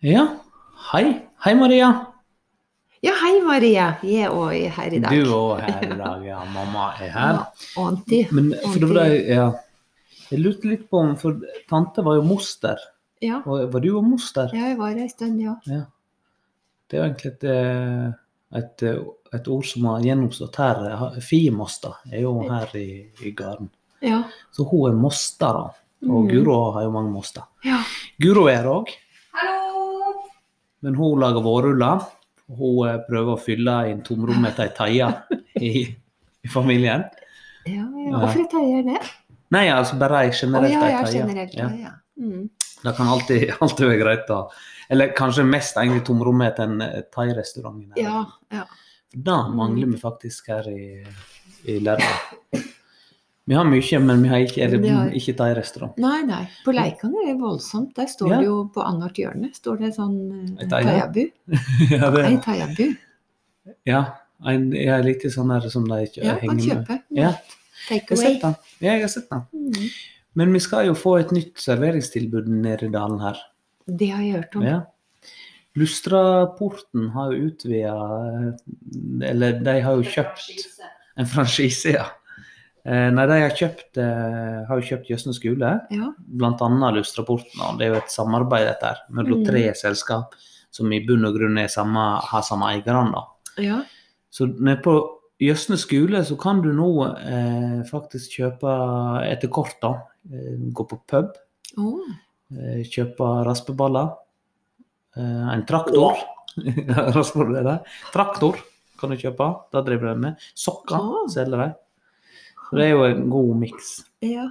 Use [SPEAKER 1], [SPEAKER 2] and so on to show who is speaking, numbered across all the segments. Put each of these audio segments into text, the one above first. [SPEAKER 1] Ja, hei. Hei, Maria.
[SPEAKER 2] Ja, hei Maria. Jeg er òg her i dag.
[SPEAKER 1] Du òg er her i dag, ja. Mamma er her.
[SPEAKER 2] Ja, og Antti.
[SPEAKER 1] Men for det var det, ja. Jeg lurte litt på om For tante var jo moster.
[SPEAKER 2] Ja.
[SPEAKER 1] Og var du òg moster?
[SPEAKER 2] ja, jeg var her en stund, ja.
[SPEAKER 1] Ja. Det er jo egentlig et, eh, et, eh, et ord som har gjennomstått her. Ha- Fimoster er jo her i, i gården.
[SPEAKER 2] Ja.
[SPEAKER 1] Så hun er moster, da. Og
[SPEAKER 2] Mhm.
[SPEAKER 1] Guro har jo mange moster.
[SPEAKER 2] ja.
[SPEAKER 1] Guro er her òg,
[SPEAKER 2] Hallo!
[SPEAKER 1] men hun lager vårruller. Hun eh, prøver å fylle inn tomrommet til ei taie i, i familien.
[SPEAKER 2] Ja, ja.
[SPEAKER 1] Ja.
[SPEAKER 2] Hvorfor jeg tøyer det?
[SPEAKER 1] Nei, altså bare ei
[SPEAKER 2] Å
[SPEAKER 1] generelt
[SPEAKER 2] ja,
[SPEAKER 1] ei
[SPEAKER 2] ja,
[SPEAKER 1] taie.
[SPEAKER 2] generelt. Ja, ja. Mm.
[SPEAKER 1] Det kan alltid, alltid være greit, da. Eller kanskje mest egentlig tomrommet til en eh, thai-restaurant. i nærheten.
[SPEAKER 2] ja, ja.
[SPEAKER 1] Det mangler vi faktisk her i, i Lærdal. Vi har mye, men vi har ikke, er det,
[SPEAKER 2] Det har-
[SPEAKER 1] ikke thai-restaurant.
[SPEAKER 2] Nei, nei. På Leikanger er det voldsomt. Der står
[SPEAKER 1] Ja.
[SPEAKER 2] det jo på annethvert hjørne står det sånn eh,
[SPEAKER 1] Et eie.
[SPEAKER 2] Tayabu.
[SPEAKER 1] ja,
[SPEAKER 2] Nei,
[SPEAKER 1] det-
[SPEAKER 2] Tayabu.
[SPEAKER 1] ja, en, jeg er litt sånn her som de ikke
[SPEAKER 2] Ja, kan
[SPEAKER 1] henger med.
[SPEAKER 2] kjøpe. Mm.
[SPEAKER 1] Ja,
[SPEAKER 2] Take
[SPEAKER 1] jeg har sett
[SPEAKER 2] away.
[SPEAKER 1] den. Ja, jeg har sett den.
[SPEAKER 2] Mm.
[SPEAKER 1] Men vi skal jo få et nytt serveringstilbud nede i dalen her.
[SPEAKER 2] Det har jeg hørt om.
[SPEAKER 1] Ja. Lustraporten har jo utvida Eller de har jo kjøpt en franchise, ja. Eh, nei, de har kjøpt, eh, har jo kjøpt Jøsne skole,
[SPEAKER 2] Ja.
[SPEAKER 1] bl.a. Lustraporten. Og det er jo et samarbeid dette her, mellom
[SPEAKER 2] Mm.
[SPEAKER 1] tre selskap som i bunn og grunn er samme, har samme eierne. da.
[SPEAKER 2] ja.
[SPEAKER 1] Så nede på Jøsne skole så kan du nå eh, faktisk kjøpe etter kort, da. Eh, gå på pub,
[SPEAKER 2] Å,
[SPEAKER 1] eh, kjøpe raspeballer, eh, en traktor Raspeballer, det er det. Traktor kan du kjøpe, det driver de med. Sokker
[SPEAKER 2] Ah.
[SPEAKER 1] selger de. Så Det er jo en god miks.
[SPEAKER 2] ja.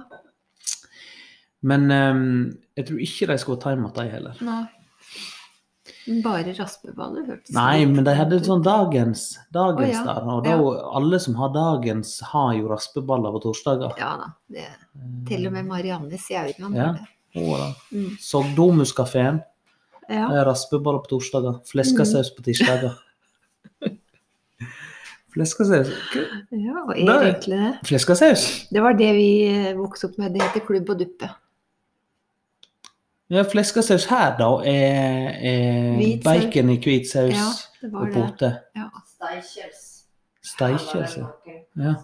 [SPEAKER 1] Men eh, jeg tror ikke de skulle ha timet de heller.
[SPEAKER 2] Nei. Bare raspeballer hørtes
[SPEAKER 1] Nei,
[SPEAKER 2] litt
[SPEAKER 1] men de hadde
[SPEAKER 2] ut.
[SPEAKER 1] sånn dagens, dagens
[SPEAKER 2] Å, ja.
[SPEAKER 1] der. Og da, alle som har dagens, har jo raspeballer på torsdager.
[SPEAKER 2] Ja da. Det, til og med Marianne Sjauran.
[SPEAKER 1] Ja.
[SPEAKER 2] har det. Mm.
[SPEAKER 1] Sogdomuskafeen
[SPEAKER 2] Ja.
[SPEAKER 1] er raspeballer på torsdager. Fleskasaus på tirsdager. Fleskasaus Hva-
[SPEAKER 2] ja, og
[SPEAKER 1] Nei.
[SPEAKER 2] egentlig det.
[SPEAKER 1] Fleskasaus?
[SPEAKER 2] Det var det vi eh, vokste opp med. Det heter klubb og duppe.
[SPEAKER 1] Ja, fleskasaus her, da, er, er
[SPEAKER 2] Hvit saus.
[SPEAKER 1] bacon i hvit saus
[SPEAKER 2] Ja, det
[SPEAKER 1] og
[SPEAKER 2] var det.
[SPEAKER 1] pote.
[SPEAKER 2] Ja.
[SPEAKER 3] Steinkjels.
[SPEAKER 1] Steikje, altså. Ja.
[SPEAKER 3] Ja.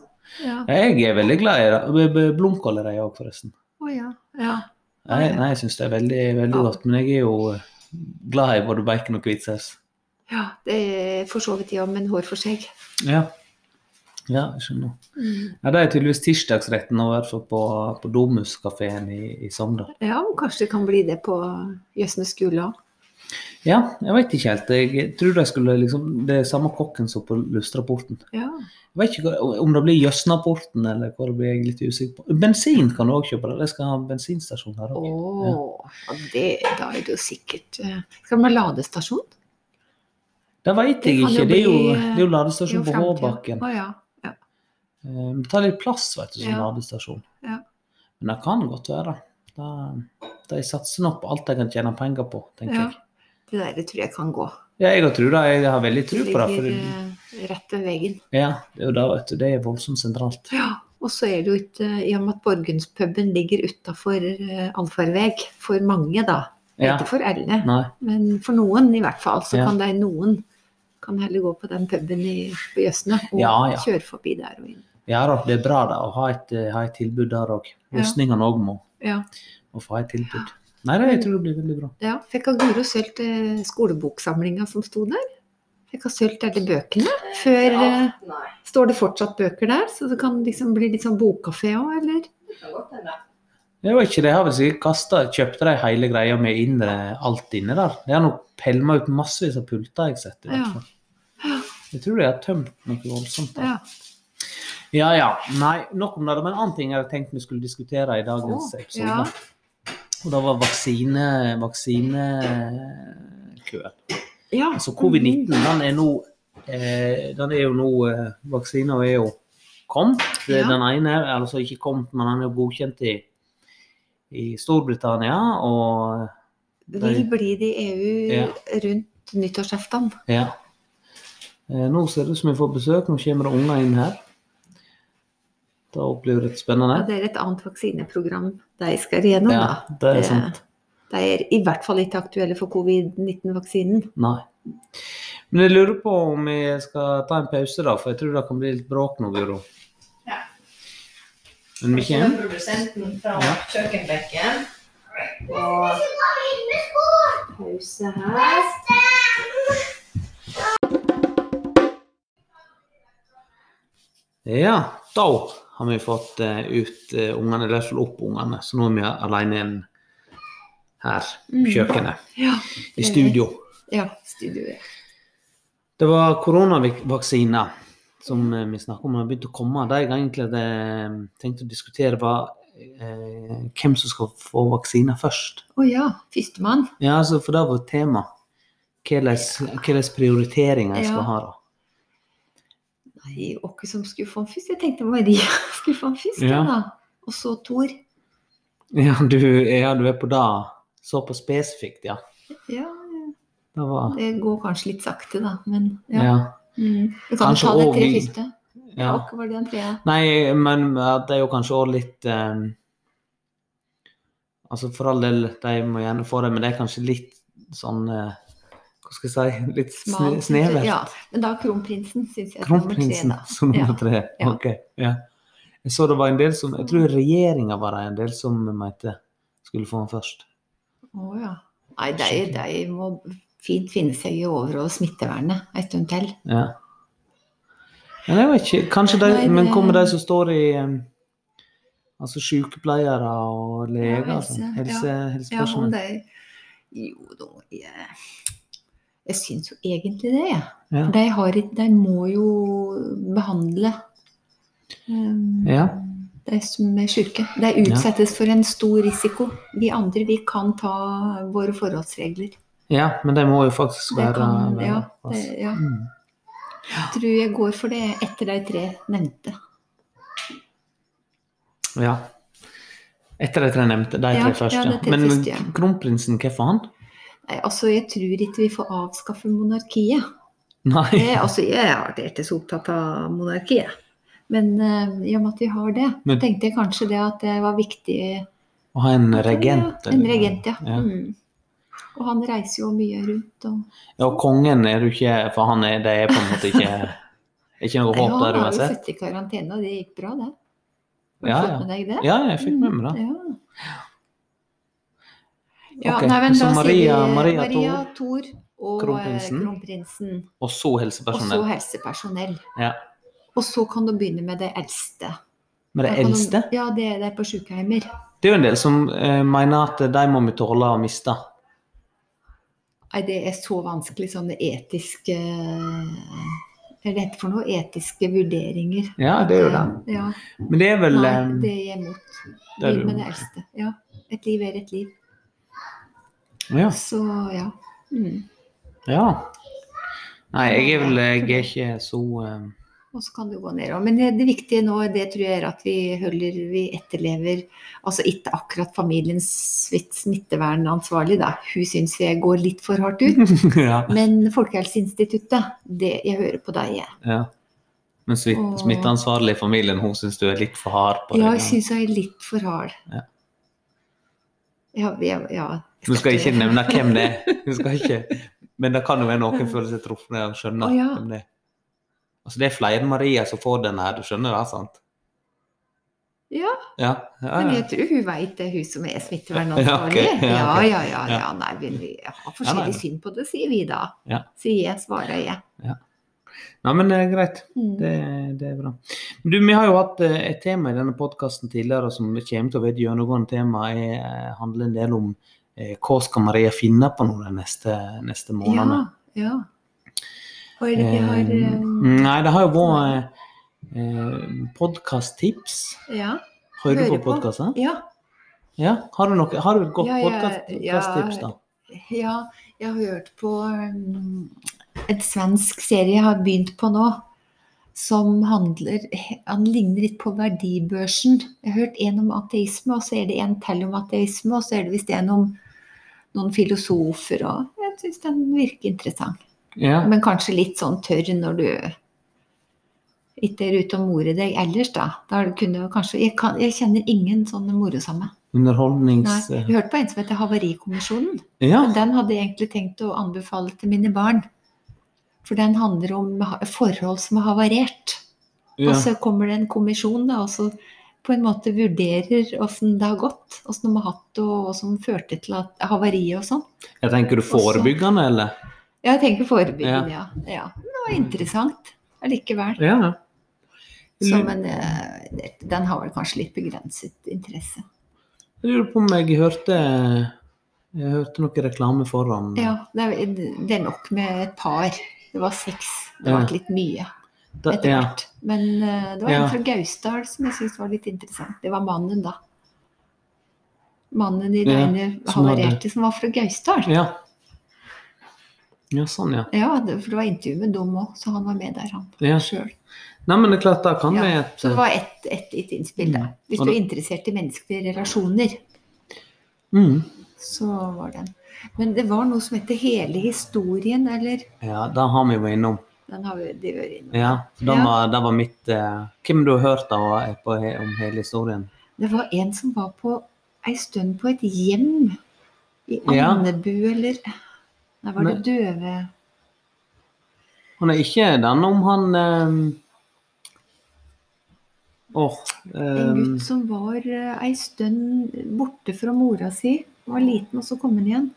[SPEAKER 2] Ja.
[SPEAKER 1] Jeg er veldig glad i det. B- b- Blomkål er de òg, forresten.
[SPEAKER 2] Å ja. ja.
[SPEAKER 1] Nei,
[SPEAKER 2] Ja, ja.
[SPEAKER 1] nei jeg syns det er veldig, veldig
[SPEAKER 2] Ja.
[SPEAKER 1] godt. Men jeg er jo eh, glad i både bacon og hvit saus.
[SPEAKER 2] Ja, det er for så vidt ja, men hår for seg. Mm.
[SPEAKER 1] Ja. ja, jeg skjønner. Ja, det er tydeligvis tirsdagsretten nå, i hvert fall på, på Domuskafeen i, i Sogndal.
[SPEAKER 2] Ja, og kanskje det kan bli det på Jøsne skole òg.
[SPEAKER 1] Ja, jeg vet ikke helt. Jeg tror de skulle liksom Det er samme kokken som på Lustraporten.
[SPEAKER 2] Ja.
[SPEAKER 1] Jeg vet ikke hva- om det blir Jøsnaporten eller hva det blir, jeg er litt usikker på. Bensin kan du òg kjøpe. der. De skal ha bensinstasjon her
[SPEAKER 2] Å,
[SPEAKER 1] òg.
[SPEAKER 2] ja, det, da er det jo sikkert eh, Skal man ha ladestasjon?
[SPEAKER 1] Det vet jeg
[SPEAKER 2] Det kan jo
[SPEAKER 1] ikke. Det er jo,
[SPEAKER 2] bli, eh,
[SPEAKER 1] det er jo
[SPEAKER 2] Det er jo
[SPEAKER 1] ladestasjon på
[SPEAKER 2] fremtiden.
[SPEAKER 1] Håbakken.
[SPEAKER 2] Å ja.
[SPEAKER 1] Eh, Det tar litt plass vet du, som
[SPEAKER 2] Ja.
[SPEAKER 1] ladestasjon.
[SPEAKER 2] Ja.
[SPEAKER 1] Men det kan godt være. Da, de satser nok på alt de kan tjene penger på, tenker
[SPEAKER 2] Ja.
[SPEAKER 1] jeg.
[SPEAKER 2] Det der tror jeg kan gå.
[SPEAKER 1] Ja, jeg har tro da. Jeg har veldig tro
[SPEAKER 2] Det
[SPEAKER 1] på det.
[SPEAKER 2] ligger
[SPEAKER 1] For,
[SPEAKER 2] eh, rett ved veien.
[SPEAKER 1] ja, det, er jo da, vet du, det er voldsomt sentralt.
[SPEAKER 2] Ja, og så er det jo ikke I og med at Borgenspuben ligger utafor allfarveg, for mange, da.
[SPEAKER 1] Ja.
[SPEAKER 2] Ikke for alle,
[SPEAKER 1] Nei.
[SPEAKER 2] men for noen i hvert fall. Så
[SPEAKER 1] Ja.
[SPEAKER 2] kan de noen kan heller gå på den puben i, på Jøsne og
[SPEAKER 1] Ja, ja.
[SPEAKER 2] kjøre forbi der og inn.
[SPEAKER 1] Ja da, det er bra da, å ha et, eh, ha et tilbud der òg.
[SPEAKER 2] Ja.
[SPEAKER 1] Løsningene òg må,
[SPEAKER 2] Ja.
[SPEAKER 1] må få ha et tilbud. Nei, det, jeg tror det blir veldig bra.
[SPEAKER 2] ja. Fikk av Guro solgt eh, skoleboksamlinga som sto der? Fikk av solgt alle bøkene? Før eh,
[SPEAKER 3] Nei,
[SPEAKER 2] Står det fortsatt bøker der, så det kan liksom bli litt sånn bokkafé òg, eller?
[SPEAKER 3] det kan godt hende.
[SPEAKER 1] Jeg vet ikke, de har vel sikkert kasta Kjøpte de hele greia med indre, alt inne der? De har nok pælma ut massevis av pulter, jeg har sett. i
[SPEAKER 2] Ja.
[SPEAKER 1] hvert fall. Jeg tror de har tømt noe voldsomt. der.
[SPEAKER 2] Ja.
[SPEAKER 1] Ja ja. Nei, nok om det. Men en annen ting jeg hadde tenkt vi skulle diskutere i dagens
[SPEAKER 2] Å,
[SPEAKER 1] episode.
[SPEAKER 2] ja.
[SPEAKER 1] Og det var vaksine, vaksinekøen.
[SPEAKER 2] ja.
[SPEAKER 1] Altså
[SPEAKER 2] Mm.
[SPEAKER 1] covid-19, den er nå eh, Den er jo nå eh, Vaksina er jo kommet. Det er
[SPEAKER 2] Ja.
[SPEAKER 1] Den ene er altså ikke kommet, men den er jo godkjent i, i Storbritannia og
[SPEAKER 2] Vil bli det i EU
[SPEAKER 1] Ja.
[SPEAKER 2] rundt nyttårsaften.
[SPEAKER 1] Ja. Eh, nå ser det ut som vi får besøk. Nå kommer det unger inn her. Da opplever jeg det
[SPEAKER 2] Ja,
[SPEAKER 1] spennende.
[SPEAKER 2] det er et annet vaksineprogram de skal igjennom,
[SPEAKER 1] Ja,
[SPEAKER 2] da.
[SPEAKER 1] det er
[SPEAKER 2] Det-
[SPEAKER 1] sant.
[SPEAKER 2] De er i hvert fall ikke aktuelle for covid-19-vaksinen.
[SPEAKER 1] Nei. Men jeg lurer på om vi skal ta en pause, da, for jeg tror det kan bli litt bråk nå, Guro.
[SPEAKER 3] Ja.
[SPEAKER 1] Men vi kommer.
[SPEAKER 3] Produsenten fra
[SPEAKER 1] Ja.
[SPEAKER 3] kjøkkenbenken. Og pause her.
[SPEAKER 1] Ja, da har vi fått eh, ut eh, ungene, eller i hvert fall opp ungene, så nå er vi alene igjen her
[SPEAKER 3] Mm.
[SPEAKER 1] på kjøkkenet.
[SPEAKER 2] Ja.
[SPEAKER 1] I studio.
[SPEAKER 2] ja studioet.
[SPEAKER 1] Det var koronavaksiner som eh, vi snakket om har begynt å komme. Det jeg egentlig hadde eh, tenkt å diskutere, var eh, hvem som skal få vaksiner først.
[SPEAKER 2] Å ja. Førstemann.
[SPEAKER 1] Ja, altså, For det var et tema. Hvilke prioriteringer jeg skal
[SPEAKER 2] Ja.
[SPEAKER 1] ha. da.
[SPEAKER 2] Nei, hvem som skulle få den først? Jeg tenkte Maria skulle få den først,
[SPEAKER 1] Ja.
[SPEAKER 2] da. Og så Tor.
[SPEAKER 1] Ja, du, ja, du er på det såpass spesifikt, ja.
[SPEAKER 2] Ja,
[SPEAKER 1] Det var
[SPEAKER 2] det går kanskje litt sakte, da, men ja.
[SPEAKER 1] Ja.
[SPEAKER 2] Mm. Du kan
[SPEAKER 1] Kanskje
[SPEAKER 2] ta de tre
[SPEAKER 1] over-
[SPEAKER 2] første. Ja.
[SPEAKER 1] ja.
[SPEAKER 2] Hva var det den tredje?
[SPEAKER 1] Nei, men eh, det er jo kanskje òg litt eh, Altså for all del, de må gjerne få det, men det er kanskje litt sånn eh, Hva skal jeg si Litt sne
[SPEAKER 2] Smal, synes jeg.
[SPEAKER 1] snevert.
[SPEAKER 2] Ja, men da kronprinsen, syns jeg. er nummer tre,
[SPEAKER 1] Kronprinsen
[SPEAKER 2] da.
[SPEAKER 1] som nummer
[SPEAKER 2] Ja,
[SPEAKER 1] tre.
[SPEAKER 2] ja.
[SPEAKER 1] Ok. Ja. Jeg så det var en del som Jeg tror regjeringa var det en del som mente skulle få den først.
[SPEAKER 2] Å ja. Nei, de, de må fint finne seg i over- og smittevernet en stund til.
[SPEAKER 1] Ja. Men jeg vet ikke Kanskje de
[SPEAKER 2] Nei, det-
[SPEAKER 1] Men kommer de som står i eh, Altså sykepleiere og leger
[SPEAKER 2] Ja,
[SPEAKER 1] og sånn?
[SPEAKER 2] helse,
[SPEAKER 1] Helse,
[SPEAKER 2] Ja, om
[SPEAKER 1] helsepersonell?
[SPEAKER 2] de Jo, da Jeg, jeg syns jo egentlig det, jeg.
[SPEAKER 1] Ja.
[SPEAKER 2] De, har, ikke- de må jo behandle um,
[SPEAKER 1] Ja.
[SPEAKER 2] de som er syke. De utsettes for en stor risiko. Vi andre vi kan ta våre forholdsregler.
[SPEAKER 1] Ja, men de må jo faktisk
[SPEAKER 2] Det
[SPEAKER 1] være,
[SPEAKER 2] kan-
[SPEAKER 1] være
[SPEAKER 2] ja,
[SPEAKER 1] pass.
[SPEAKER 2] det, ja.
[SPEAKER 1] Mm.
[SPEAKER 2] tror jeg går for det etter de tre nevnte.
[SPEAKER 1] ja. Etter de tre nevnte, de
[SPEAKER 2] Ja,
[SPEAKER 1] tre først,
[SPEAKER 2] ja,
[SPEAKER 1] ja.
[SPEAKER 2] de tre
[SPEAKER 1] Men
[SPEAKER 2] første, ja.
[SPEAKER 1] kronprinsen, hvorfor han?
[SPEAKER 2] Nei, altså, jeg tror ikke vi får avskaffe monarkiet.
[SPEAKER 1] Nei.
[SPEAKER 2] Eh, altså, jeg har vært helt så opptatt av monarkiet. Men eh, i og med at vi har det,
[SPEAKER 1] Men-
[SPEAKER 2] tenkte jeg kanskje det at det var viktig
[SPEAKER 1] Å ha en regent.
[SPEAKER 2] Ja, en regent, ja.
[SPEAKER 1] Ja.
[SPEAKER 2] Mm. Og han reiser jo mye rundt og
[SPEAKER 1] Ja, og kongen er du ikke For han er, det er på en måte ikke Ikke noe håp
[SPEAKER 2] Nei, Han
[SPEAKER 1] der
[SPEAKER 2] var jo
[SPEAKER 1] uansett?
[SPEAKER 2] satt i karantene, og det gikk bra, det. Har du
[SPEAKER 1] Ja,
[SPEAKER 2] fått
[SPEAKER 1] ja.
[SPEAKER 2] med deg det? Mm,
[SPEAKER 1] ja, jeg fikk med meg det.
[SPEAKER 2] Ja. Ja,
[SPEAKER 1] Ok,
[SPEAKER 2] nei, men
[SPEAKER 1] så
[SPEAKER 2] da
[SPEAKER 1] Maria-
[SPEAKER 2] sier vi
[SPEAKER 1] Maria
[SPEAKER 2] Maria Thor og
[SPEAKER 1] Kronprinsen.
[SPEAKER 2] kronprinsen. kronprinsen.
[SPEAKER 1] Og så
[SPEAKER 2] Og så
[SPEAKER 1] helsepersonell.
[SPEAKER 2] helsepersonell.
[SPEAKER 1] Ja.
[SPEAKER 2] Og så kan du begynne med det eldste.
[SPEAKER 1] Men det
[SPEAKER 2] Da kan du-
[SPEAKER 1] eldste
[SPEAKER 2] Ja, det er der på sykehjemmer.
[SPEAKER 1] Det er jo en del som eh, mener at de må vi tåle å miste.
[SPEAKER 2] Nei, det er så vanskelig, sånne etiske Hva er det heter for noe? Etiske vurderinger.
[SPEAKER 1] Ja, det er jo det.
[SPEAKER 2] Ja.
[SPEAKER 1] Men det er vel
[SPEAKER 2] Nei,
[SPEAKER 1] eh,
[SPEAKER 2] det er jeg imot.
[SPEAKER 1] det er
[SPEAKER 2] Liv med
[SPEAKER 1] du.
[SPEAKER 2] det eldste. Ja. Et liv er et liv.
[SPEAKER 1] Ja.
[SPEAKER 2] Så ja. Mm.
[SPEAKER 1] ja. Nei, jeg er vel Jeg er ikke så eh,
[SPEAKER 2] Og så kan du gå nedover. Men det, det viktige nå, det tror jeg er at vi holder, vi etterlever Altså ikke akkurat familiens smitt- smittevernansvarlig, da. Hun syns jeg går litt for hardt ut.
[SPEAKER 1] ja,
[SPEAKER 2] Men Folkehelseinstituttet, det, jeg hører på deg. jeg.
[SPEAKER 1] ja. Men smitt,
[SPEAKER 2] Åh.
[SPEAKER 1] smitteansvarlig i familien, hun syns du er litt for hard på
[SPEAKER 2] Ja,
[SPEAKER 1] det.
[SPEAKER 2] jeg syns jeg er litt for hard.
[SPEAKER 1] Ja.
[SPEAKER 2] Ja, vi er- ja.
[SPEAKER 1] Du skal ikke nevne hvem det er. Du skal ikke. Men det kan jo være noen føler seg truffet og skjønner
[SPEAKER 2] Å, ja.
[SPEAKER 1] hvem det er. Altså, det er flere enn Maria som får den her, du skjønner det, sant?
[SPEAKER 2] Ja.
[SPEAKER 1] Ja, ja,
[SPEAKER 2] Men
[SPEAKER 1] ja.
[SPEAKER 2] jeg tror hun veit det, hun som er
[SPEAKER 1] Ah. Ja,
[SPEAKER 2] smittevernansvarlig.
[SPEAKER 1] ok, ja,
[SPEAKER 2] Ja,
[SPEAKER 1] ok.
[SPEAKER 2] ja, ja.
[SPEAKER 1] Ja.
[SPEAKER 2] ja. Nei, men vi har
[SPEAKER 1] Ja, nei.
[SPEAKER 2] forskjellig syn på det, sier vi da.
[SPEAKER 1] Ja.
[SPEAKER 2] Sier jeg, svarer jeg.
[SPEAKER 1] Nei, men det er greit.
[SPEAKER 2] Mm.
[SPEAKER 1] Det, det er bra. Men Du, vi har jo hatt eh, et tema i denne podkasten tidligere som kommer til å være et gjennomgående tema. Det handler en del om eh, hva skal Maria finne på nå de neste, neste månedene.
[SPEAKER 2] Ja, ja. Hva er det vi har
[SPEAKER 1] Eh,
[SPEAKER 2] eh,
[SPEAKER 1] Nei, det har jo vært eh, eh, podkast-tips.
[SPEAKER 2] eh, Ja.
[SPEAKER 1] Hører du på
[SPEAKER 2] Hører på.
[SPEAKER 1] podkaster?
[SPEAKER 2] ja.
[SPEAKER 1] Ja. Har du, noe, har du et godt
[SPEAKER 2] Ja, jeg-
[SPEAKER 1] podkast-tips, da?
[SPEAKER 2] Ja, jeg har hørt på um, et svensk serie jeg har begynt på nå, som handler Han ligner litt på verdibørsen. Jeg har hørt en om ateisme, og så er det en til om ateisme, og så er det visst en om noen filosofer og Jeg syns den virker interessant.
[SPEAKER 1] Ja.
[SPEAKER 2] Men kanskje litt sånn tørr når du ikke er ute og morer deg ellers, da. Da kunne du kanskje jeg, kan, jeg kjenner ingen sånne morosomme. Nei,
[SPEAKER 1] Underholdnings... eh,
[SPEAKER 2] vi hørte på en som heter Havarikommisjonen.
[SPEAKER 1] Ja.
[SPEAKER 2] og Den hadde jeg egentlig tenkt å anbefale til mine barn. For den handler om ha- forhold som har havarert.
[SPEAKER 1] ja.
[SPEAKER 2] Og så kommer det en kommisjon da, og så på en måte vurderer åssen det har gått. Åssen de har hatt det, og hva som førte til at havariet og sånn.
[SPEAKER 1] Jeg tenker du forebyggende, eller?
[SPEAKER 2] Ja, jeg tenker forebyggende, ja. ja. Det var interessant allikevel.
[SPEAKER 1] Ja. ja. Mm.
[SPEAKER 2] Så, men eh, det- den har vel kanskje litt begrenset interesse.
[SPEAKER 1] Jeg lurer på om jeg hørte jeg hørte noe reklame foran
[SPEAKER 2] Ja, det er, det er nok med et par. Det var seks. Det
[SPEAKER 1] Ja.
[SPEAKER 2] var litt mye
[SPEAKER 1] Da-
[SPEAKER 2] etter
[SPEAKER 1] ja.
[SPEAKER 2] hvert. Men eh, det var
[SPEAKER 1] Ja.
[SPEAKER 2] en fra Gausdal som jeg syntes var litt interessant. Det var mannen, da. Mannen i det
[SPEAKER 1] Ja,
[SPEAKER 2] ene
[SPEAKER 1] som
[SPEAKER 2] havarerte som var fra Gausdal.
[SPEAKER 1] ja. Ja, sånn, ja.
[SPEAKER 2] Ja, det, for det var intervju med dem òg, så han var med der, han
[SPEAKER 1] ja.
[SPEAKER 2] sjøl.
[SPEAKER 1] Nei, men det er klart, da kan
[SPEAKER 2] Ja,
[SPEAKER 1] vi et
[SPEAKER 2] Så det var ett et, et innspill, da.
[SPEAKER 1] Mm.
[SPEAKER 2] Hvis
[SPEAKER 1] Og
[SPEAKER 2] du er
[SPEAKER 1] det-
[SPEAKER 2] interessert i menneskelige relasjoner,
[SPEAKER 1] mm.
[SPEAKER 2] så var den. Men det var noe som heter Hele historien, eller?
[SPEAKER 1] Ja, det har vi vært innom.
[SPEAKER 2] Den har vi de vært innom.
[SPEAKER 1] Ja, det
[SPEAKER 2] Ja.
[SPEAKER 1] var, det var mitt eh, Hvem du har hørt av eh, på, he- om hele historien?
[SPEAKER 2] Det var en som var på ei stund på et hjem i
[SPEAKER 1] Ja.
[SPEAKER 2] Andebu, eller Nei, var det
[SPEAKER 1] Nei.
[SPEAKER 2] døve
[SPEAKER 1] Han er ikke den om han eh, Åh
[SPEAKER 2] En
[SPEAKER 1] eh,
[SPEAKER 2] gutt som var eh, ei stund borte fra mora si. Han Var liten, og så kom han igjen.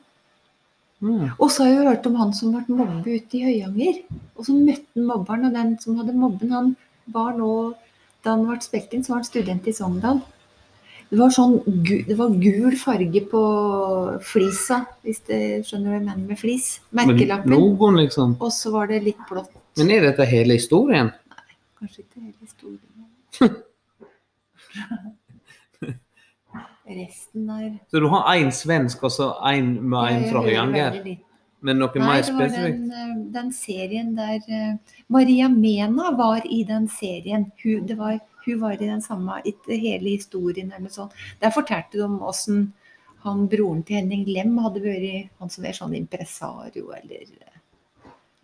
[SPEAKER 1] mm,
[SPEAKER 2] Og så har jeg jo hørt om han som ble mobbet ute i Høyanger. Og så møtte han mobberen, og den som hadde mobben, han var nå Da han ble spilt inn, så var han student i Sogndal. Det var sånn gu- det var gul farge på flisa, hvis du skjønner hva jeg mener med flis.
[SPEAKER 1] men
[SPEAKER 2] Merkelappen.
[SPEAKER 1] Logoen, liksom.
[SPEAKER 2] Og så var det litt blått.
[SPEAKER 1] Men er dette hele historien?
[SPEAKER 2] Kanskje ikke hele historien. Resten er
[SPEAKER 1] Så du har én svensk og så én med en
[SPEAKER 2] Jeg
[SPEAKER 1] fra
[SPEAKER 2] hører
[SPEAKER 1] Høyanger?
[SPEAKER 2] veldig lite.
[SPEAKER 1] Men noe
[SPEAKER 2] Nei,
[SPEAKER 1] mer
[SPEAKER 2] det var
[SPEAKER 1] spesifikt?
[SPEAKER 2] den, eh, den serien der eh, Maria Mena var i den serien. Hun, det var, hun var i den samme ikke hele historien eller noe sånt. Der fortalte de om åssen han broren til Henning Lem hadde vært han som er sånn impresario eller eh,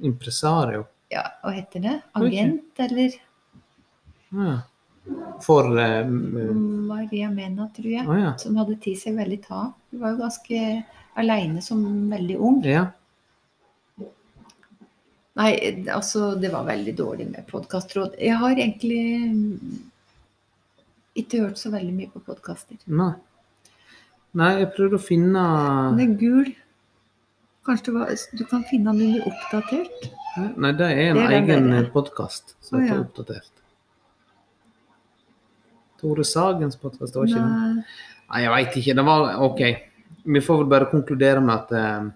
[SPEAKER 1] Impresario.
[SPEAKER 2] ja, hva heter det?
[SPEAKER 1] Ok.
[SPEAKER 2] Agent, eller?
[SPEAKER 1] Ja. For eh, m-
[SPEAKER 2] Mm. Maria Mena, tror jeg.
[SPEAKER 1] Å ja.
[SPEAKER 2] som hadde tid seg veldig ta. Hun var jo ganske aleine som veldig ung.
[SPEAKER 1] ja.
[SPEAKER 2] Nei, altså, det var veldig dårlig med podkastråd. Jeg har egentlig mm, ikke hørt så veldig mye på podkaster.
[SPEAKER 1] Nei. Nei, jeg prøvde å finne
[SPEAKER 2] Den er gul. Kanskje det var, du kan finne den under oppdatert?
[SPEAKER 1] Nei, det er en
[SPEAKER 2] Det er den der,
[SPEAKER 1] egen
[SPEAKER 2] ja.
[SPEAKER 1] podkast som
[SPEAKER 2] Å,
[SPEAKER 1] heter
[SPEAKER 2] ja.
[SPEAKER 1] Oppdatert. Tore Sagens podkast, det var ikke den?
[SPEAKER 2] Nei.
[SPEAKER 1] Nei, jeg veit ikke. Det var OK. Vi får vel bare konkludere med at eh,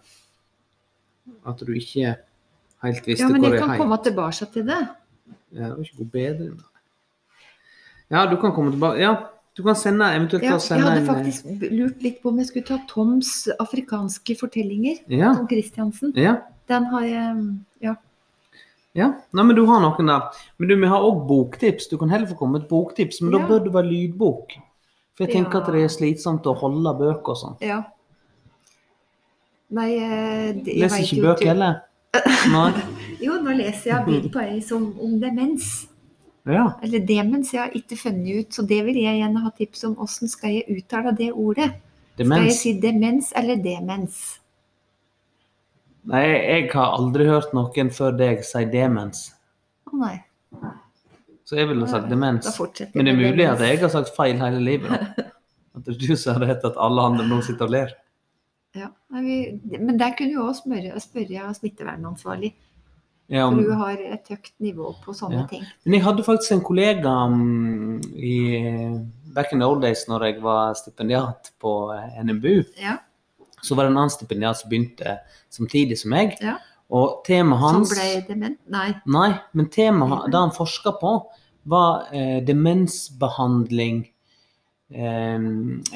[SPEAKER 1] at du ikke helt visste
[SPEAKER 2] Ja, men
[SPEAKER 1] hvor
[SPEAKER 2] jeg
[SPEAKER 1] det
[SPEAKER 2] kan
[SPEAKER 1] het.
[SPEAKER 2] komme tilbake til det.
[SPEAKER 1] Ja, det var ikke god bedring. da. Ja, du kan komme tilbake. Ja, du kan sende eventuelt
[SPEAKER 2] Ja,
[SPEAKER 1] da
[SPEAKER 2] jeg
[SPEAKER 1] sende
[SPEAKER 2] hadde
[SPEAKER 1] en, eh,
[SPEAKER 2] faktisk lurt litt på om jeg skulle ta Toms afrikanske fortellinger.
[SPEAKER 1] Ja.
[SPEAKER 2] Tom Christiansen.
[SPEAKER 1] ja.
[SPEAKER 2] Den har jeg mm, Ja.
[SPEAKER 1] Ja, Nei, men du har noen der. Men du, vi har òg boktips. Du kan heller få komme med et boktips, men
[SPEAKER 2] Ja.
[SPEAKER 1] da bør det være lydbok. For jeg tenker
[SPEAKER 2] Ja.
[SPEAKER 1] at det er slitsomt å holde bøker og sånn.
[SPEAKER 2] Ja. Nei, eh, det- jeg
[SPEAKER 1] Leser
[SPEAKER 2] vet
[SPEAKER 1] ikke
[SPEAKER 2] jo
[SPEAKER 1] bøker heller. Nei.
[SPEAKER 2] Jo, nå leser jeg bit på ei som om demens.
[SPEAKER 1] Ja.
[SPEAKER 2] Eller demens, jeg har ikke funnet ut. Så det vil jeg gjerne ha tips om. Åssen skal jeg uttale det ordet? Skal jeg
[SPEAKER 1] Demens.
[SPEAKER 2] si demens eller demens?
[SPEAKER 1] Nei, jeg har aldri hørt noen før deg si demens.
[SPEAKER 2] Å nei.
[SPEAKER 1] Så jeg ville sagt
[SPEAKER 2] Da
[SPEAKER 1] demens.
[SPEAKER 2] fortsetter
[SPEAKER 1] Men det er
[SPEAKER 2] med
[SPEAKER 1] mulig at
[SPEAKER 2] demens.
[SPEAKER 1] jeg har sagt feil hele livet. da. At det er du som har rett, at alle andre nå sitter og ler.
[SPEAKER 2] ja. Nei, vi, Men der kunne vi òg spørre, spørre smittevernansvarlig.
[SPEAKER 1] Ja,
[SPEAKER 2] For
[SPEAKER 1] om-
[SPEAKER 2] du har et høyt nivå på sånne
[SPEAKER 1] Ja.
[SPEAKER 2] ting.
[SPEAKER 1] Men jeg hadde faktisk en kollega mm, i back in the old days når jeg var stipendiat på eh, NMBU.
[SPEAKER 2] Ja.
[SPEAKER 1] Så var det en annen stipendiat som begynte samtidig som meg.
[SPEAKER 2] Ja.
[SPEAKER 1] Og temaet
[SPEAKER 2] Som
[SPEAKER 1] hans
[SPEAKER 2] ble Mm. dement? Nei.
[SPEAKER 1] Nei, men temaet han- det han forska på, var eh, demensbehandling. Eh,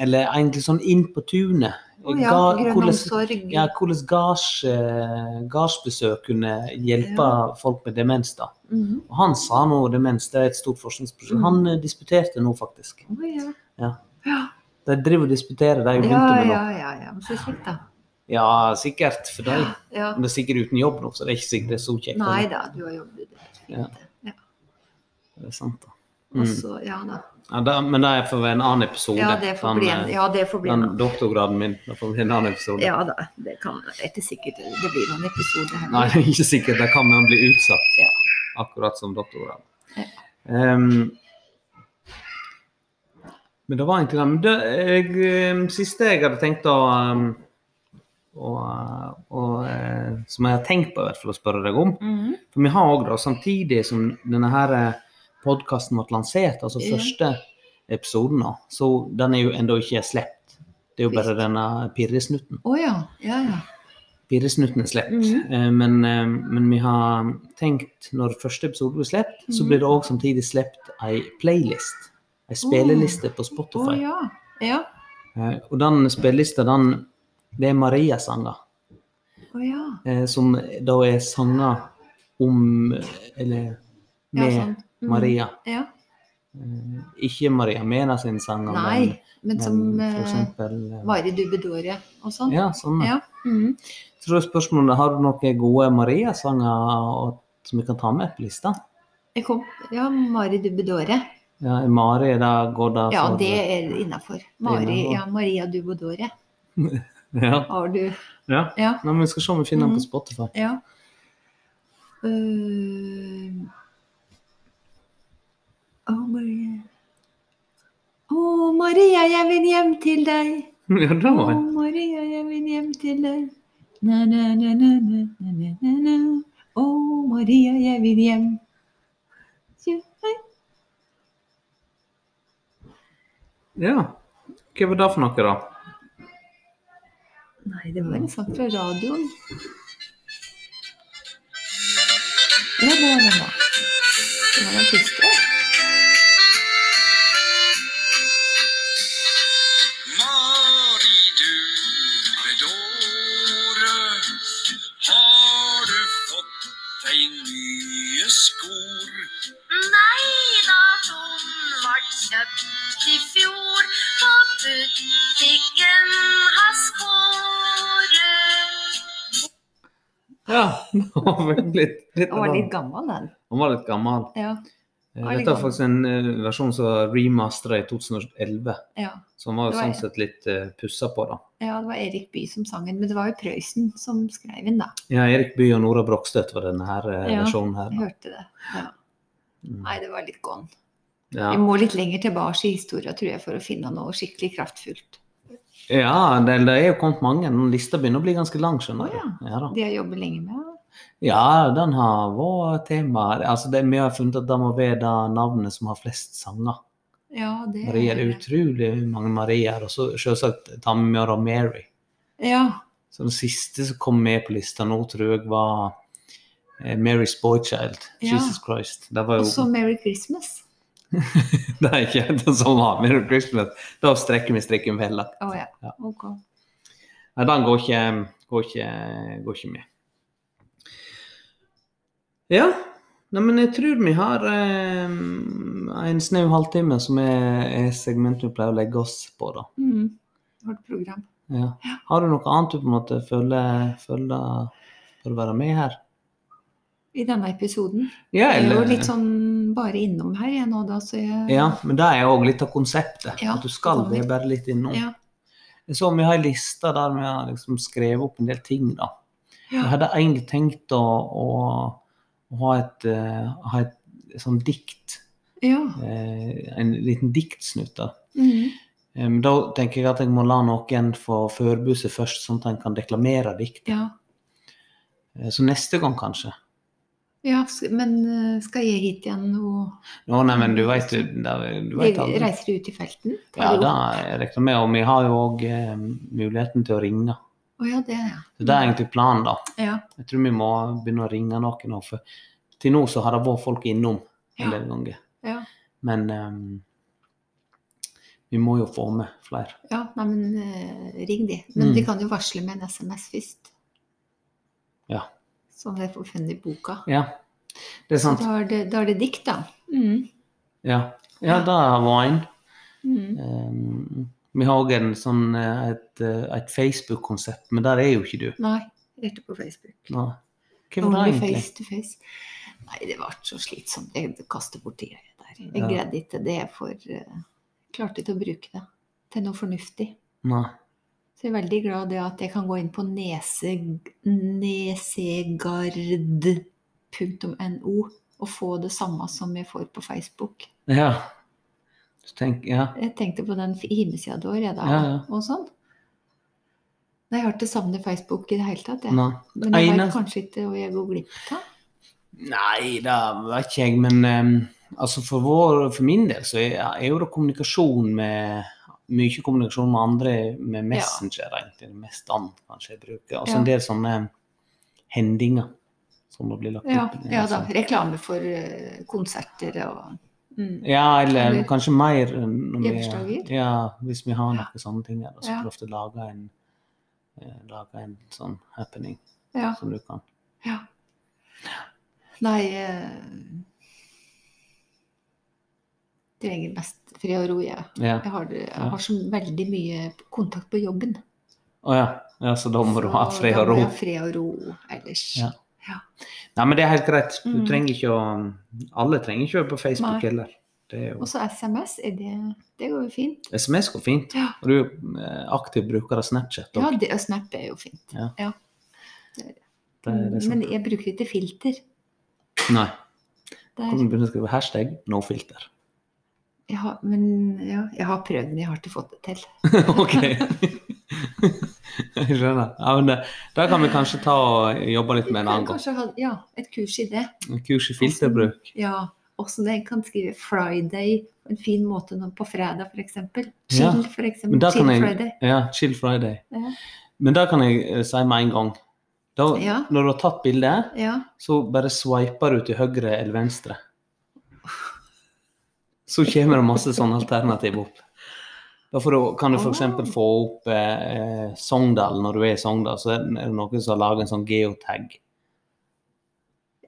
[SPEAKER 1] eller egentlig sånn Inn på tunet.
[SPEAKER 2] Å ja,
[SPEAKER 1] Ga-
[SPEAKER 2] grønn
[SPEAKER 1] hvordan-
[SPEAKER 2] omsorg.
[SPEAKER 1] ja, hvordan gards- eh, gardsbesøk kunne hjelpe
[SPEAKER 2] Ja.
[SPEAKER 1] folk med demens. da.
[SPEAKER 2] Mhm.
[SPEAKER 1] Og han sa nå demens, det er et stort forskningsprosjekt.
[SPEAKER 2] Mm.
[SPEAKER 1] Han eh, disputerte nå, faktisk.
[SPEAKER 2] Å ja.
[SPEAKER 1] De driver og disputerer, de begynte
[SPEAKER 2] Ja,
[SPEAKER 1] med nå.
[SPEAKER 2] ja, ja, ja. Men så kjekt, da.
[SPEAKER 1] Ja, sikkert for dem.
[SPEAKER 2] Ja.
[SPEAKER 1] Men det er sikkert uten jobb nå, så det er ikke sikkert det er så kjekt.
[SPEAKER 2] Nei
[SPEAKER 1] eller?
[SPEAKER 2] da, du har jobbet der. Fint,
[SPEAKER 1] Ja.
[SPEAKER 2] det. Ja.
[SPEAKER 1] Det er sant, da. Mm.
[SPEAKER 2] Og så, ja da.
[SPEAKER 1] Ja, da, men det får være en annen episode.
[SPEAKER 2] Altså- Ja, det får bli en,
[SPEAKER 1] den, eh,
[SPEAKER 2] ja, det får bli en
[SPEAKER 1] den doktorgraden min. Det får bli en annen episode.
[SPEAKER 2] Ja da, det kan det er sikkert Det blir noen episoder her.
[SPEAKER 1] Nei, det er ikke sikkert. Det kan man bli utsatt.
[SPEAKER 2] Ja.
[SPEAKER 1] Akkurat som doktorgrad.
[SPEAKER 2] Ja.
[SPEAKER 1] Ehm, men det var egentlig det. Men det jeg, ehm, siste jeg hadde tenkt å ehm, å, eh, å, eh, Som jeg har tenkt på i hvert fall å spørre deg om.
[SPEAKER 2] Mhm.
[SPEAKER 1] For vi har òg, samtidig som denne her podkasten ble lansert, altså
[SPEAKER 2] Ja.
[SPEAKER 1] første episoden, nå, så den er jo ennå ikke sluppet. Det er jo bare denne pirresnutten.
[SPEAKER 2] Å ja. Ja ja.
[SPEAKER 1] Pirresnutten er sluppet.
[SPEAKER 2] Mhm.
[SPEAKER 1] Eh, Men, eh, men vi har tenkt, når første episode blir sluppet, så
[SPEAKER 2] Mhm.
[SPEAKER 1] blir det òg samtidig sluppet ei playlist. Ei speleliste på
[SPEAKER 2] Å
[SPEAKER 1] Spotify.
[SPEAKER 2] ja. Ja.
[SPEAKER 1] Eh, Og den spelelista, den Det er Maria-sanger.
[SPEAKER 2] Å ja.
[SPEAKER 1] eh, Som da er sanger om Eller
[SPEAKER 2] ja
[SPEAKER 1] med
[SPEAKER 2] sånn. Mhm.
[SPEAKER 1] Maria.
[SPEAKER 2] Ja.
[SPEAKER 1] Eh, Ikke Maria Mena sine sanger,
[SPEAKER 2] Nei, men som
[SPEAKER 1] men for
[SPEAKER 2] eh,
[SPEAKER 1] eksempel eh,
[SPEAKER 2] Mari Dubedore og sånn.
[SPEAKER 1] Ja, sånn.
[SPEAKER 2] Ja. Mhm.
[SPEAKER 1] Så da er spørsmålet har du noen gode Maria-sanger og- som vi kan ta med på lista?
[SPEAKER 2] Jeg kom, ja, Mari Dubedore.
[SPEAKER 1] Ja, Mari, da går det
[SPEAKER 2] Ja,
[SPEAKER 1] for-
[SPEAKER 2] det er innafor. Mari,
[SPEAKER 1] innenfor.
[SPEAKER 2] ja, Maria Dubedore.
[SPEAKER 1] Ja.
[SPEAKER 2] Har du
[SPEAKER 1] ja.
[SPEAKER 2] Ja.
[SPEAKER 1] Nei, men vi skal se om vi finner den
[SPEAKER 2] Mhm.
[SPEAKER 1] på Spotify.
[SPEAKER 2] Ja. Uh, oh, Marie. Å, Maria, jeg vil hjem til deg.
[SPEAKER 1] ja, det
[SPEAKER 2] Å,
[SPEAKER 1] var jeg.
[SPEAKER 2] Maria, jeg vil hjem til deg. Na, na, na, na, na, na, na, na, na. Å, Maria, jeg vil hjem. Tju, hei.
[SPEAKER 1] Ja. Hva var det for noe, da?
[SPEAKER 2] Nei, det var en sang fra radioen. Ja, det var den, da. Det var den siste.
[SPEAKER 4] Mari du bedåre, har du fått deg nye skor?
[SPEAKER 5] Nei da, Tom var kjøpt i fjor på butikken hans Kåre.
[SPEAKER 1] Ja, den var litt, litt,
[SPEAKER 2] Den var litt gammel, den.
[SPEAKER 1] Den var litt gammel.
[SPEAKER 2] Ja.
[SPEAKER 1] Eh,
[SPEAKER 2] var litt
[SPEAKER 1] Dette er
[SPEAKER 2] gammel.
[SPEAKER 1] faktisk en eh, versjon som remastera i 2011.
[SPEAKER 2] ja.
[SPEAKER 1] Så den var jo
[SPEAKER 2] Det var-
[SPEAKER 1] sånn sett litt uh, pussa på, da.
[SPEAKER 2] Ja, det var Erik Bye som sang den, men det var jo Prøysen som skrev den, da.
[SPEAKER 1] Ja, Erik Bye og Nora Brogstøt var denne her eh,
[SPEAKER 2] Ja,
[SPEAKER 1] versjonen her.
[SPEAKER 2] Jeg
[SPEAKER 1] da.
[SPEAKER 2] hørte det.
[SPEAKER 1] Mm.
[SPEAKER 2] Nei, det var litt gone.
[SPEAKER 1] Ja.
[SPEAKER 2] Vi må litt lenger tilbake i historia, tror jeg, for å finne noe skikkelig kraftfullt.
[SPEAKER 1] ja, det, det er jo kommet mange. Den lista begynner å bli ganske lang, skjønner
[SPEAKER 2] Å,
[SPEAKER 1] du. Ja, da.
[SPEAKER 2] De har jobbet lenge med
[SPEAKER 1] ja, den har vært tema. Altså, det, vi har funnet at det må være det navnet som har flest sanger.
[SPEAKER 2] Ja, det
[SPEAKER 1] Maria det er utrolig mange Mariaer, og så selvsagt tar vi med oss da Mary.
[SPEAKER 2] Ja.
[SPEAKER 1] Så den siste som kom med på lista nå, tror jeg var eh, Mary's Boychild,
[SPEAKER 2] Ja.
[SPEAKER 1] Jesus Christ. Det var
[SPEAKER 2] Og
[SPEAKER 1] jo
[SPEAKER 2] så Merry Christmas.
[SPEAKER 1] Det er ikke den som var Merry Christmas. Da strekker vi strikken vel. da.
[SPEAKER 2] Å ja.
[SPEAKER 1] Ja.
[SPEAKER 2] Ok.
[SPEAKER 1] Nei, den går ikke, går ikke, går ikke med. Ja. Nei, men jeg tror vi har eh, en snau halvtime, som er, er segmentet vi pleier å legge oss på, da.
[SPEAKER 2] Mm. Vårt program.
[SPEAKER 1] Ja. Har du noe annet du på en måte føler, føler for å være med her?
[SPEAKER 2] I denne episoden.
[SPEAKER 1] Ja,
[SPEAKER 2] Jeg er jo
[SPEAKER 1] eller
[SPEAKER 2] litt sånn bare innom her, jeg nå, da, så jeg
[SPEAKER 1] ja, men det er òg litt av konseptet.
[SPEAKER 2] Ja,
[SPEAKER 1] at du skal
[SPEAKER 2] det
[SPEAKER 1] det
[SPEAKER 2] er
[SPEAKER 1] bare litt innom.
[SPEAKER 2] Ja.
[SPEAKER 1] Jeg så vi har ei liste der vi har liksom skrevet opp en del ting, da. Jeg
[SPEAKER 2] Ja.
[SPEAKER 1] hadde egentlig tenkt å, å, å ha et, eh, ha et sånn dikt,
[SPEAKER 2] ja.
[SPEAKER 1] eh, en liten diktsnutt. da.
[SPEAKER 2] Mm.
[SPEAKER 1] Eh, Men da tenker jeg at jeg må la noen få forberede seg først, sånn at en kan deklamere dikt.
[SPEAKER 2] ja.
[SPEAKER 1] Eh, Så neste gang, kanskje.
[SPEAKER 2] ja. sk- Men eh, skal jeg hit igjen og
[SPEAKER 1] Nå, nei, men du veit Du
[SPEAKER 2] Vi
[SPEAKER 1] vet aldri.
[SPEAKER 2] reiser ut i felten? tar
[SPEAKER 1] Ja,
[SPEAKER 2] det
[SPEAKER 1] det
[SPEAKER 2] opp.
[SPEAKER 1] reklamerer Og vi har jo òg eh, muligheten til å ringe.
[SPEAKER 2] Å ja, det, ja.
[SPEAKER 1] Så det er egentlig planen, da.
[SPEAKER 2] Ja.
[SPEAKER 1] Jeg tror vi må begynne å ringe noen nå, for til nå så har det vært folk innom en
[SPEAKER 2] Ja.
[SPEAKER 1] del ganger.
[SPEAKER 2] Ja.
[SPEAKER 1] Men ehm, vi må jo få med flere.
[SPEAKER 2] ja. Nei, men eh, ring de. Men
[SPEAKER 1] Mm.
[SPEAKER 2] de kan jo varsle med en SMS først.
[SPEAKER 1] Ja.
[SPEAKER 2] Som jeg får funnet i boka.
[SPEAKER 1] Ja, det er
[SPEAKER 2] Så
[SPEAKER 1] sant.
[SPEAKER 2] da er det, da er det dikt, da. Mm.
[SPEAKER 1] Ja, ja det har vært en.
[SPEAKER 2] Mm.
[SPEAKER 1] Ehm, vi har òg en sånn, eh, et, eh, et Facebook-konsept, men der er jo ikke du.
[SPEAKER 2] Nei, rett på Facebook.
[SPEAKER 1] Nå. Hva var det
[SPEAKER 2] Only
[SPEAKER 1] egentlig?
[SPEAKER 2] face to face. Nei, det ble så slitsomt. Jeg kastet bort tida der. der. Jeg
[SPEAKER 1] Ja.
[SPEAKER 2] greide ikke det for eh, Klarte ikke å bruke det til noe fornuftig.
[SPEAKER 1] Nei.
[SPEAKER 2] Så jeg er veldig glad det at jeg kan gå inn på nese, nesegard.no og få det samme som jeg får på Facebook.
[SPEAKER 1] Ja. Så tenk, ja.
[SPEAKER 2] Jeg tenkte på den hjemmesida du har, jeg da.
[SPEAKER 1] Ja, ja.
[SPEAKER 2] Og sånn. Nei, Jeg har ikke savnet Facebook i det hele tatt, jeg.
[SPEAKER 1] Nei.
[SPEAKER 2] Men jeg
[SPEAKER 1] Ene-
[SPEAKER 2] vet kanskje ikke hva jeg går glipp av.
[SPEAKER 1] Nei, det vet ikke jeg, men em, altså for, vår, for min del så er, er jo det kommunikasjon med mye kommunikasjon med andre med Messenger egentlig det mest an kanskje jeg bruker. Og så en
[SPEAKER 2] Ja.
[SPEAKER 1] del sånne hendinger som det blir lagt
[SPEAKER 2] Ja,
[SPEAKER 1] opp.
[SPEAKER 2] ja da.
[SPEAKER 1] sånn.
[SPEAKER 2] Reklame for eh, konserter og mm.
[SPEAKER 1] Ja, eller,
[SPEAKER 2] Eller-
[SPEAKER 1] kanskje mer når vi,
[SPEAKER 2] Hjemmeslager.
[SPEAKER 1] ja, hvis vi har noen sånne ting. her, Da, så
[SPEAKER 2] Ja.
[SPEAKER 1] prøver vi ofte å lage en, eh, lage en sånn happening
[SPEAKER 2] Ja.
[SPEAKER 1] som du kan.
[SPEAKER 2] Ja. Nei eh, Trenger mest fred og ro, jeg.
[SPEAKER 1] Ja.
[SPEAKER 2] Jeg har, jeg har så veldig mye kontakt på jobben.
[SPEAKER 1] Å ja. ja, så da må du ha
[SPEAKER 2] Så
[SPEAKER 1] fred
[SPEAKER 2] da
[SPEAKER 1] og
[SPEAKER 2] må
[SPEAKER 1] ro.
[SPEAKER 2] jeg ha fred og ro ellers.
[SPEAKER 1] Ja. Nei, men det er helt greit. Du
[SPEAKER 2] Mm.
[SPEAKER 1] trenger ikke å Alle trenger ikke å være på Facebook
[SPEAKER 2] Nei.
[SPEAKER 1] heller. Det er
[SPEAKER 2] Og
[SPEAKER 1] jo
[SPEAKER 2] så SMS, er det, det går jo fint.
[SPEAKER 1] SMS går fint.
[SPEAKER 2] Ja.
[SPEAKER 1] Og du er jo eh, aktiv bruker av Snapchat.
[SPEAKER 2] Ja,
[SPEAKER 1] og
[SPEAKER 2] det, og Snap er jo fint.
[SPEAKER 1] Ja. det, er det som-
[SPEAKER 2] Men jeg bruker ikke filter.
[SPEAKER 1] Nei.
[SPEAKER 2] Det
[SPEAKER 1] Kan du
[SPEAKER 2] er,
[SPEAKER 1] begynne å skrive hashtag no filter?
[SPEAKER 2] jeg har, men ja, jeg har prøvd, men jeg har ikke fått det til.
[SPEAKER 1] ok. Jeg skjønner. Ja, men det, der kan vi kanskje ta og jobbe litt med en annen gang.
[SPEAKER 2] Kanskje ha ja, et kurs i det.
[SPEAKER 1] Kurs i filterbruk.
[SPEAKER 2] Ja, også når jeg kan skrive 'Friday' på en fin måte nå på fredag, f.eks.
[SPEAKER 1] Ja,
[SPEAKER 2] Chill, for
[SPEAKER 1] men
[SPEAKER 2] eksempel.
[SPEAKER 1] da kan
[SPEAKER 2] Chill
[SPEAKER 1] jeg-
[SPEAKER 2] Friday.
[SPEAKER 1] Ja, Chill Friday.
[SPEAKER 2] Ja.
[SPEAKER 1] Men det kan jeg eh, si med en gang. Da,
[SPEAKER 2] Ja.
[SPEAKER 1] Når du har tatt bildet,
[SPEAKER 2] Ja.
[SPEAKER 1] så bare sveiper du til høyre eller venstre. Så kommer det masse sånne alternativ opp. Da får du, kan du f.eks. få opp eh, eh, Sogndal når du er i Sogndal. Så er det noen som har laget en sånn geotag.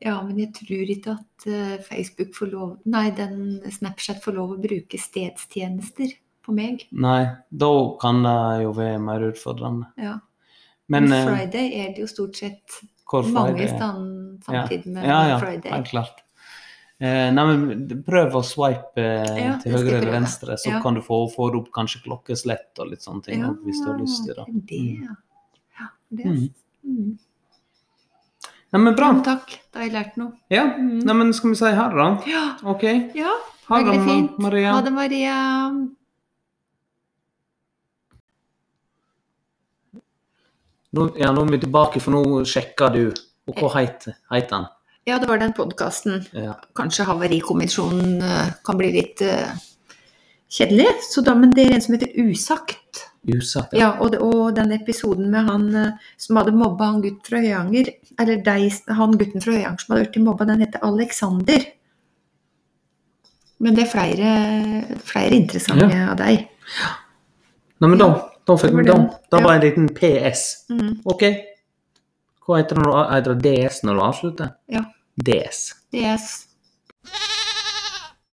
[SPEAKER 2] ja, men jeg tror ikke at eh, Facebook får lov Nei, den Snapchat får lov å bruke stedstjenester på meg.
[SPEAKER 1] Nei, da kan det jo være mer utfordrende.
[SPEAKER 2] Ja. Men,
[SPEAKER 1] Men eh,
[SPEAKER 2] Friday er det jo stort sett
[SPEAKER 1] hvor
[SPEAKER 2] mange
[SPEAKER 1] Friday er-
[SPEAKER 2] stand samtidig med
[SPEAKER 1] Ja, ja,
[SPEAKER 2] Friday.
[SPEAKER 1] helt klart. Eh, nei, men prøv å swipe eh,
[SPEAKER 2] Ja,
[SPEAKER 1] til
[SPEAKER 2] det skal
[SPEAKER 1] høyre
[SPEAKER 2] jeg
[SPEAKER 1] eller
[SPEAKER 2] prøve.
[SPEAKER 1] venstre, så
[SPEAKER 2] Ja.
[SPEAKER 1] kan du få, få opp kanskje klokkeslett og litt sånne ting opp, hvis du har lyst til det.
[SPEAKER 2] Ja, det. er det, ja. Ja, det.
[SPEAKER 1] Mm.
[SPEAKER 2] Mm.
[SPEAKER 1] Nei, men bra.
[SPEAKER 2] Ja, takk, da har jeg lært noe.
[SPEAKER 1] Ja,
[SPEAKER 2] Mm.
[SPEAKER 1] nei, men skal vi si ha det, da?
[SPEAKER 2] Ja,
[SPEAKER 1] OK.
[SPEAKER 2] ja.
[SPEAKER 1] Ha det,
[SPEAKER 2] Veldig fint.
[SPEAKER 1] Maria.
[SPEAKER 2] Ha det, Maria.
[SPEAKER 1] Nå, ja, nå er vi tilbake, for nå sjekker du. Og hva heter heter han?
[SPEAKER 2] Ja, det var den podkasten.
[SPEAKER 1] Ja.
[SPEAKER 2] Kanskje Havarikommisjonen eh, kan bli litt eh, kjedelig. Så da, men det er en som heter Usagt.
[SPEAKER 1] Usagt.
[SPEAKER 2] Ja, og, det- og den episoden med han eh, som hadde mobba han gutt fra Høyanger, eller deg, han gutten fra Høyanger som hadde blitt mobba, den heter Alexander. Men det er flere, flere interessante av deg.
[SPEAKER 1] Nei, men da, da fikk
[SPEAKER 2] Det var
[SPEAKER 1] vi da.
[SPEAKER 2] den.
[SPEAKER 1] Da
[SPEAKER 2] Ja.
[SPEAKER 1] var en liten PS.
[SPEAKER 2] Mm.
[SPEAKER 1] OK. Hva heter det når du- heter det DS når du avslutter?
[SPEAKER 2] Ja.
[SPEAKER 1] DS.
[SPEAKER 2] Yes.